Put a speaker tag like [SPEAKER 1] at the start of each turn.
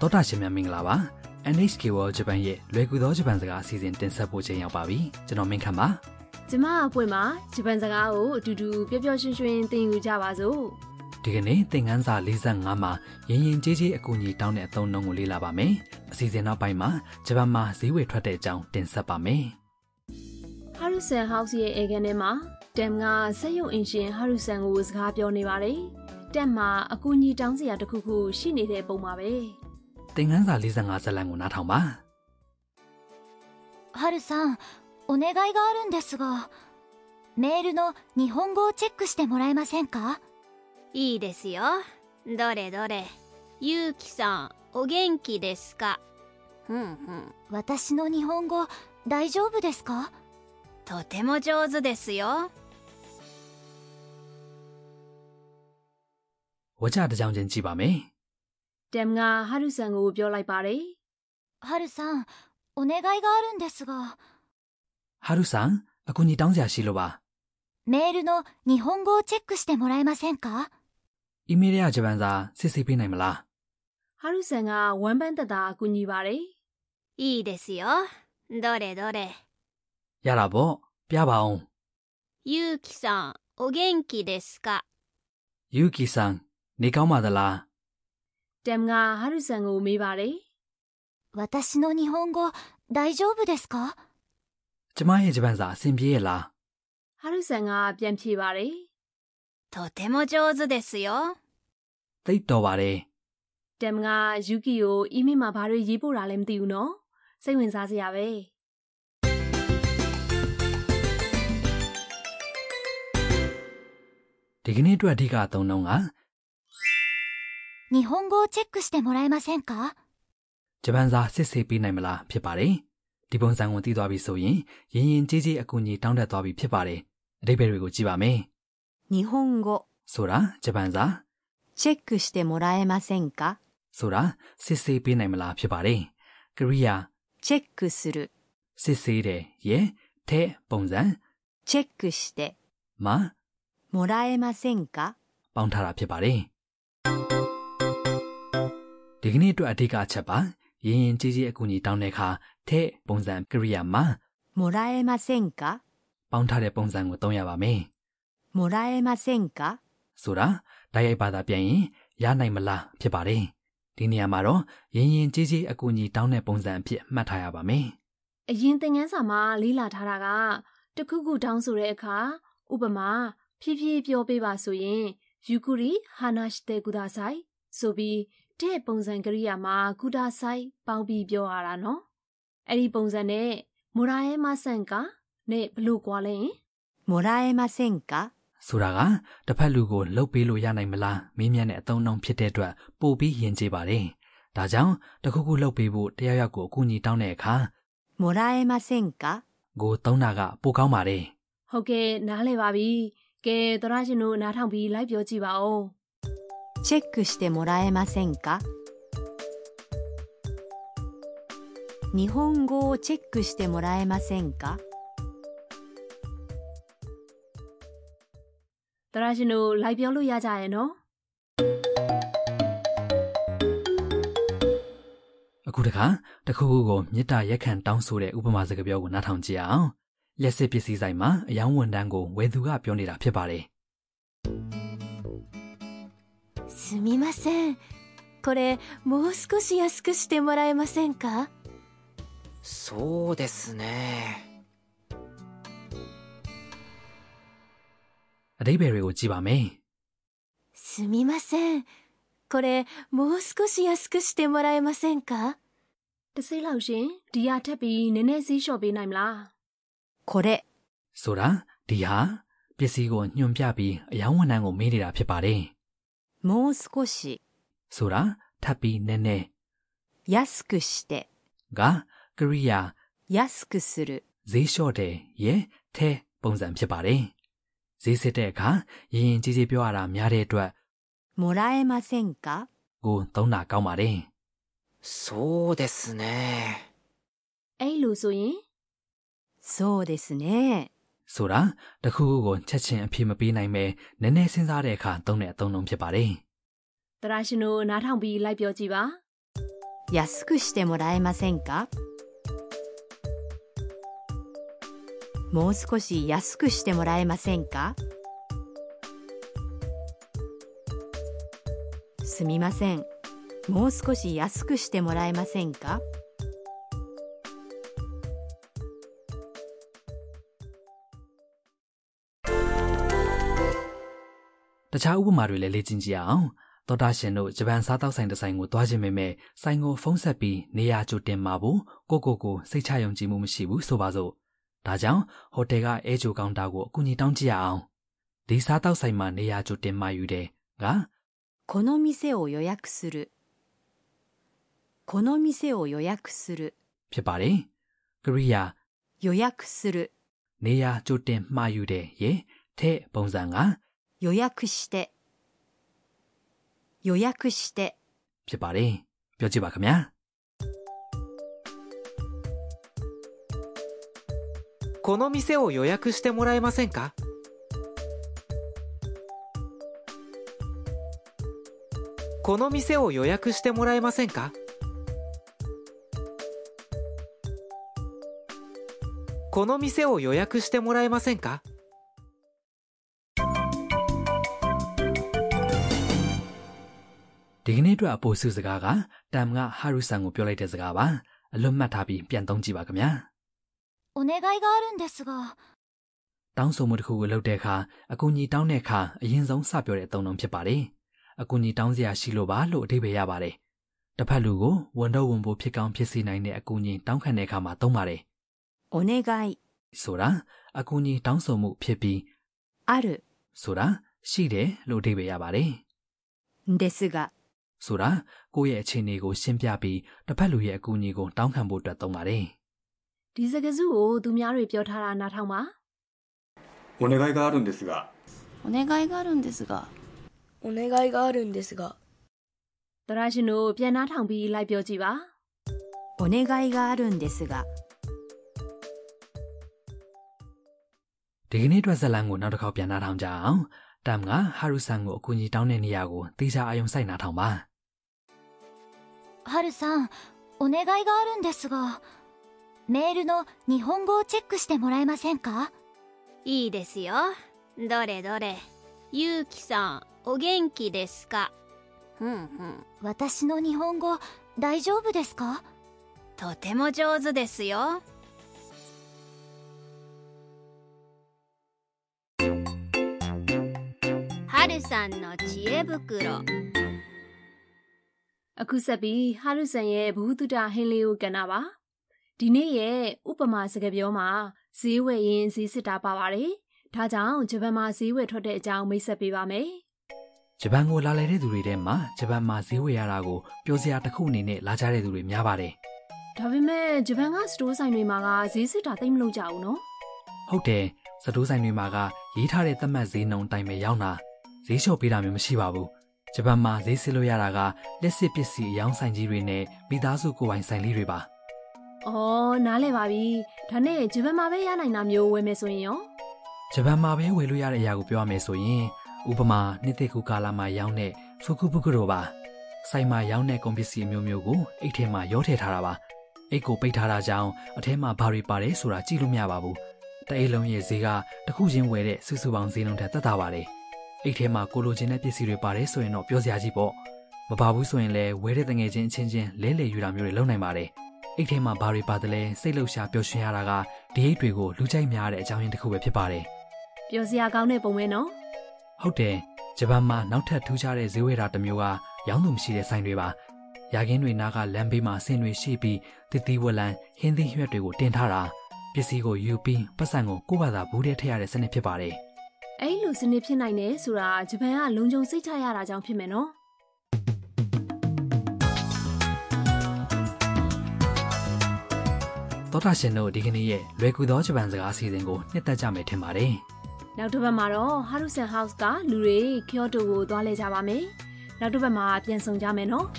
[SPEAKER 1] တောတာရှင်များမင်္ဂလာပါ NHK World Japan ရဲ့လွယ်ကူသောဂျပန်စကားအစီအစဉ်တင်ဆက်ဖို့ချိန်ရောက်ပါပြီကျွန်တော်မင်းခမ်းပါ
[SPEAKER 2] ကျမအပွင့်မှာဂျပန်စကားကိုအတူတူပျော်ပျော်ရွှင်ရွှင်သင်ယူကြပါစို့
[SPEAKER 1] ဒီကနေ့သင်ခန်းစာ45မှာရင်ရင်ကျေးကျေးအကူအညီတောင်းတဲ့အသုံးအနှုန်းကိုလေ့လာပါမယ်အစီအစဉ်နောက်ပိုင်းမှာဂျပန်မှာဈေးဝယ်ထွက်တဲ့အကြောင်းတင်ဆက်ပါမယ်
[SPEAKER 2] ဟာရူဆန်ဟောက်စ်ရဲ့အေကန်ထဲမှာတမ်ကစက်ရုပ်အင်ရှင်ဟာရူဆန်ကိုစကားပြောနေပါတယ်တမ်မှာအကူအညီတောင်းစရာတစ်ခုခုရှိနေတဲ့ပုံပါပဲ
[SPEAKER 1] သင်ခန်းစာ45ဇာတ်လမ်းကိုနားထောင်ပါ
[SPEAKER 3] ハルさん、お願いがあるんですが、メールの日本語をチェックしてもらえませんか
[SPEAKER 4] いいですよどれどれゆうきさんお元気ですかふんふん
[SPEAKER 3] 私の日本語、大丈夫ですか
[SPEAKER 4] とても上手ですよ
[SPEAKER 1] ဝါကြတစ်ကြောင်ချင်းကြည့်ပါမယ်
[SPEAKER 2] တမ်ကဟာရူဆန်ကိုပြောလိုက်ပါတယ်
[SPEAKER 3] ハルさん、お願いがあるんですが、
[SPEAKER 1] ဟာရုဆန်အကူအညီတောင်းစရာရှိလို့ပါ
[SPEAKER 3] メールの日本語をチェックしてもらえませんか
[SPEAKER 1] အီးမေးလ်ရဂျပန်စာစစ်ဆေးပေးနိုင်မလား
[SPEAKER 2] ဟာရူဆန်ကဝမ်းပန်းသက်သာအကူအညီပါတယ်
[SPEAKER 4] いいですよどれどれ
[SPEAKER 1] ရတာပေါ့ပြပါအောင်
[SPEAKER 4] ゆうきさんお元気ですか
[SPEAKER 1] ယူကီဆန်နေကောင်းပါသလား
[SPEAKER 2] တမ်ကဟာရူဆန်ကိုမေးပါတယ်
[SPEAKER 3] 私の日本語、大丈夫ですか
[SPEAKER 1] ကျမရဲ့ဂျပန်စာအဆင်ပြေရဲ့လား
[SPEAKER 2] ဟာရူဆန်ကပြန်ဖြေပါတယ်
[SPEAKER 4] とても上手ですよ
[SPEAKER 1] သိပ်တော်ပါတယ်
[SPEAKER 2] တမ်ကယူကီကိုအီးမေးလ်မှာဘာတွေရေးပို့တာလဲမသိဘူးနော်စိတ်ဝင်စားစရာပဲ
[SPEAKER 1] ဒီကနေ့အတွက်အဓိကအသုံးနှုန်းက
[SPEAKER 3] 日本語をチェックしてもらえませんか
[SPEAKER 1] ဂျပန်စာစစ်ဆေးပေးနိုင်မလားဖြစ်ပါတယ်ဒီပုံစံကိုသိသွားပြီဆိုရင်ရင်ရင်ကြီးကြီးအကူအညီတောင်းတသွားပြီဖြစ်ပါတယ်အဓိပ္ပာယ်တွေကိုကြည့်ပါမယ်
[SPEAKER 5] 日本語
[SPEAKER 1] ဆိုတာဂျပန်စာ
[SPEAKER 5] チェックしてもらえませんか
[SPEAKER 1] ဆိုတာစစ်ဆေးပေးနိုင်မလားဖြစ်ပါတယ်ကရိယာ
[SPEAKER 5] チェックする
[SPEAKER 1] စစ်ဆေးတယ်ရဲ့ထဲပုံစံ
[SPEAKER 5] チェックして
[SPEAKER 1] မှာ
[SPEAKER 5] もらえませんか
[SPEAKER 1] ပေါင်းထားတာဖြစ်ပါတယ်ဒီကနေ့အတွက်အဓိကအချက်ပါရင်ရင်ကြီးကြီးအကူအညီတောင်းတဲ့အခါထဲပုံစံကရိယာမှာ
[SPEAKER 5] もらえませんか
[SPEAKER 1] ပေါင်းထားတဲ့ပုံစံကိုသုံးရပါမယ်
[SPEAKER 5] もらえませんか
[SPEAKER 1] ဆိုတာဓာတ်ရိုက်ဘာသာပြန်ရင်ရနိုင်မလားဖြစ်ပါတယ်ဒီနေရာမှာတော့ရင်ရင်ကြီးကြီးအကူအညီတောင်းတဲ့ပုံစံအဖြစ်မှတ်ထားရပါမယ်
[SPEAKER 2] အရင်သင်ခန်းစာမှာလေးလာထားတာကတစ်ခုခုတောင်းဆိုတဲ့အခါဥပမာဖြည်းဖြည်းပြောပေးပါဆိုရင်ယူကူရီဟာနာရှိတဲ့ကုဒါဆိုင်ဆိုပြီးတဲ့ပုံစံကရိယာမှာကုဒါဆိုင်ပေါင်းပြီးပြောရတာနော်အဲ့ဒီပုံစံနဲ့မိုရာရဲမဆန်ကနဲ့ဘလို့ကွာလဲရင်
[SPEAKER 5] もらえませんか
[SPEAKER 1] ဆိုတာကတစ်ဖက်လူကိုလှုပ်ပေးလို့ရနိုင်မလားမေးမြန်းတဲ့အသုံးအနှုန်းဖြစ်တဲ့အတွက်ပို့ပြီးယဉ်ကျေးပါတယ်ဒါကြောင့်တစ်ခုခုလှုပ်ပေးဖို့တယောက်ယောက်ကိုအကူအညီတောင်းတဲ့အခါ
[SPEAKER 5] もらえませんか
[SPEAKER 1] ကိုသုံးတာကပိုကောင်းပါတယ်
[SPEAKER 2] ဟုတ်ကဲ့နားလဲပါပြီကဲသရရှင်တို့နားထောင်ပြီးလိုက်ပြောကြည့်ပါဦး
[SPEAKER 5] チェックしてもらえませんか日本語をチェックしてもらえませんか
[SPEAKER 2] သရရှင်တို့လိုက်ပြောလို့ရကြရဲ့နော်
[SPEAKER 1] အခုတခါတစ်ခုခုကိုမေတ္တာရက်ခံတောင်းဆိုတဲ့ဥပမာစကားပြောကိုနားထောင်ကြည့်အောင်လျှက်စစ်ပစ္စည်းဆိုင်မှာအယောင်းဝန်တန်းကိုဝယ်သူကပြောနေတာဖြစ်ပါတယ်
[SPEAKER 3] すみません。これ、もう少し安くしてもらえませんか
[SPEAKER 6] そうですね。
[SPEAKER 1] အဓိပ္ပာယ်တွေကိုကြည့်ပါမယ်
[SPEAKER 3] すみません。これ、もう少し安くしてもらえませんか
[SPEAKER 2] တစ်စိမ့်လောက်ရှင်ဒီရထပ်ပြီးနည်းနည်းဈေးလျှော့ပေးနိုင်မလား
[SPEAKER 5] これ
[SPEAKER 1] ။ဆိုတာဒီဟာပစ္စည်းကိုညွှန်ပြပြီးအယောင်းဝန်ထမ်းကိုမေးနေတာဖြစ်ပါတယ်
[SPEAKER 5] もう少し
[SPEAKER 1] ။ဆိုတာထပ်ပြီးနည်းနည်း
[SPEAKER 5] 安くして
[SPEAKER 1] ကကရိယာ
[SPEAKER 5] 安くする
[SPEAKER 1] ဈေးလျှော့တယ်ရဲ့ထဲပုံစံဖြစ်ပါတယ်။ဈေးစစ်တဲ့အခါရင်ရင်ကြီးကြီးပြောရတာများတဲ့အတွက်
[SPEAKER 5] もらえませんか
[SPEAKER 1] ကိုသုံးတာကောင်းပါတယ်
[SPEAKER 6] そうですね。
[SPEAKER 2] အဲ့လိုဆိုရင်
[SPEAKER 5] そうですね
[SPEAKER 1] ။ဆိုတာတစ်ခုခုကိုချက်ချင်းအပြည့်မပေးနိုင်ပဲနည်းနည်းစဉ်းစားတဲ့အခါသုံးတဲ့အသုံးလုံးဖြစ်ပါတယ်။
[SPEAKER 2] သရရှင်တို့နားထောင်ပြီးလိုက်ပြောကြည့်ပါ
[SPEAKER 5] 安くしてもらえませんかもう少し安くしてもらえませんかすみませんもう少し安くしてもらえませんか
[SPEAKER 1] တခြားဥပမာတွေလည်းလေ့ကျင့်ကြည့်ရအောင်သောတာရှင်တို့ဂျပန်စားတောက်ဆိုင်တစ်ဆိုင်ကိုသွားခြင်းပေမဲ့ဆိုင်ကိုဖုံးဆက်ပြီးနေရာကြိုတင်မှာဘူးကိုကိုကိုစိတ်ချယုံကြည်မှုမရှိဘူးဆိုပါစို့ဒါကြောင့်ဟိုတယ်ကအဲဂျိုကောင်တာကိုအကူအညီတောင်းကြည့်ရအောင်ဒီစားတောက်ဆိုင်မှာနေရာကြိုတင်မှာယူတယ်ငါ
[SPEAKER 5] この店を予約するこの店を予約する
[SPEAKER 1] ဖြစ်ပါတယ်ကရိယာ
[SPEAKER 5] 予約する
[SPEAKER 1] နေရာကြိုတင်မှာယူတယ်ရေထဲပုံစံက
[SPEAKER 5] 予約して予約して
[SPEAKER 1] ဖြစ်ပါတယ်ပြောကြည့်ပါခင်ဗျာ
[SPEAKER 6] この店を予約してもらえませんかこの店を予約してもらえませんかこの店を予約してもらえませんか
[SPEAKER 1] ဒီကနေ့အတွက်အပိုစုစကားကတမ်ကဟာရူဆန်ကိုပြောလိုက်တဲ့စကားပါအလွတ်မှတ်ထားပြီးပြန်သုံးကြည့်ပါခင်ဗျာ
[SPEAKER 3] お願いがあるんですが
[SPEAKER 1] တောင်းဆိုမှုတစ်ခုကိုလုပ်တဲ့အခါအကူအညီတောင်းတဲ့အခါအရင်ဆုံးစပြောတဲ့အသုံးအနှုန်းဖြစ်ပါတယ်။အကူအညီတောင်းစရာရှိလို့ပါလို့အဓိပ္ပာယ်ရပါတယ်။တစ်ဖက်လူကိုဝန်တော့ဝန်ပိုဖြစ်ကောင်းဖြစ်စေနိုင်တဲ့အကူအညီတောင်းခံတဲ့အခါမှာသုံးပါတယ်
[SPEAKER 5] お願い
[SPEAKER 1] ။ဆိုတာအကူအညီတောင်းဆိုမှုဖြစ်ပြီး
[SPEAKER 5] ある
[SPEAKER 1] ဆိုတာရှိတယ်လို့အဓိပ္ပာယ်ရပါတယ်
[SPEAKER 5] んですが
[SPEAKER 1] ။ဆိုတာကိုယ့်ရဲ့အခြေအနေကိုရှင်းပြပြီးတစ်ဖက်လူရဲ့အကူအညီကိုတောင်းခံဖို့အတွက်သုံးပါတယ်
[SPEAKER 2] ဒီစကားစုကိုသူများတွေပြောထားတာနားထောင်ပါ
[SPEAKER 7] お願いがあるんですが
[SPEAKER 8] お願いがあるんですがお願いがあるんですが
[SPEAKER 2] တရရှင်တို့ပြန်နားထောင်ပြီးလိုက်ပြောကြည့်ပါ
[SPEAKER 5] お願いがあるんですが
[SPEAKER 1] ။ဒီကနေ့အတွက်ဇာတ်လမ်းကိုနောက်တစ်ခေါက်ပြန်နှာထောင်ကြအောင်။တမ်ကဟာရူဆန်ကိုအကူအညီတောင်းတဲ့နေရာကိုတေချာအာယုံစိုက်နှာထောင်ပါ။
[SPEAKER 3] ハルさんお願いがあるんですがメールの日本語をチェックしてもらえませんか
[SPEAKER 4] いいですよどれどれゆうきさんお元気ですかふんふん
[SPEAKER 3] 私の日本語大丈夫ですか
[SPEAKER 4] とても上手ですよはるさんの知恵袋
[SPEAKER 2] အခုဆက်ပြီးဟာရုဆန်ရဲ့ဘုဟုတုတဟင်းလေးကိုကဏ္ဍပါဒီနေ့ရဲ့ဥပမာစကားပြောမှာဈေးဝယ်ရင်ဈေးစစ်တာပါပါတယ်ဒါကြောင့်ဂျပန်မှာဈေးဝယ်ထွက်တဲ့အကြောင်းမိတ်ဆက်ပေးပါမယ်
[SPEAKER 1] ဂျပန်ကိုလာလည်တဲ့သူတွေထဲမှာဂျပန်မှာဈေးဝယ်ရတာကိုပျော်စရာတစ်ခုအနေနဲ့လာကြတဲ့သူတွေများပါတယ်
[SPEAKER 2] ဒါပေမဲ့ဂျပန်ကစတိုးဆိုင်တွေမှာကဈေးစစ်တာသိမ့်မလုပ်ကြဘူးနော်
[SPEAKER 1] ။ဟုတ်တယ်စတိုးဆိုင်တွေမှာကရေးထားတဲ့သတ်မှတ်ဈေးနှုန်းတိုင်းပဲရောက်တာဈေးလျှော့ပေးတာမျိုးမရှိပါဘူး။ဂျပန်မှာဈေးစစ်လို့ရတာကလက်စစ်ပစ္စည်းအယောင်ဆိုင်ကြီးတွေနဲ့မိသားစုကိုယ်ပိုင်ဆိုင်လေးတွေပါ
[SPEAKER 2] အော်နားလဲပါပြီဒါနဲ့ဂျပန်မှာပဲရနိုင်တာမျိုးဝယ်မယ်ဆိုရင်ရော
[SPEAKER 1] ။ဂျပန်မှာပဲဝယ်လို့ရတဲ့အရာကိုပြောရမယ်ဆိုရင်ဥပမာနှစ်သိက္ခူကာလာမှာရောင်းတဲ့ဖူကူဖူကူတို့ပါ။ဆိုင်မှာရောင်းတဲ့ကုန်ပစ္စည်းအမျိုးမျိုးကိုအိတ်ထဲမှာရောထည့်ထားတာပါ။အိတ်ကိုပိတ်ထားတာကြောင့်အထဲမှာဘာတွေပါတယ်ဆိုတာကြည့်လို့မရပါဘူး။ တအိတ်လုံးရဲ့ဈေးကတစ်ခုချင်းဝယ်တဲ့စုစုပေါင်းဈေးနှုန်းထက်သက်သာပါတယ်။အိတ်ထဲမှာကိုလိုချင်တဲ့ပစ္စည်းတွေပါတယ်ဆိုရင်တော့ပြောစရာကြီးပေါ့။မပါဘူးဆိုရင်လည်းဝယ်တဲ့တငယ်ချင်းအချင်းချင်းလဲလှယ်ယူတာမျိုးတွေလုပ်နိုင်ပါတယ်။အိတ်ထဲမှာဘာတွေပါတယ်လဲစိတ်လှုပ်ရှားပျော်ရွှင်ရတာကဒီအိတ်တွေကိုလူကြိုက်များတဲ့အကြောင်းရင်းတစ်ခုပဲဖြစ်ပါတယ်
[SPEAKER 2] ပြောစရာကောင်းတဲ့ပုံပဲနော်
[SPEAKER 1] ။ဟုတ်တယ်။ဂျပန်မှာနောက်ထပ်ထူးခြားတဲ့ဈေးဝယ်တာတစ်မျိုးကရောင်းသူမရှိတဲ့ဆိုင်တွေပါ။ရာကင်းတွေနားကလမ်းဘေးမှာဆင်တွေရှိပြီးတည်တည်ဝလံဟင်းသီးရွက်တွေကိုတင်ထားတာပစ္စည်းကိုယူပြီးပတ်စံကိုကိုယ့်ဘာသာဘူးတဲ့ထည့်ရတဲ့စနစ်ဖြစ်ပါတယ်။
[SPEAKER 2] အဲ့လိုစနစ်ဖြစ်နိုင်တယ်ဆိုတာဂျပန်ကလုံခြုံစိတ်ချရတာကြောင့်ဖြစ်မယ်နော်
[SPEAKER 1] သောတာရှင်တို့ဒီကနေ့ရဲ့လွယ်ကူသောဂျပန်စကားအစီအစဉ်ကိုနှစ်သက်ကြမယ်ထင်ပါတယ်
[SPEAKER 2] နောက်တစ်ပတ်မှာတော့ Harusan House ကလူတွေ Kyoto ကိုသွားလဲကြပါမယ်။နောက်တစ်ပတ်မှာပြန်ဆောင်ကြမယ်နော်။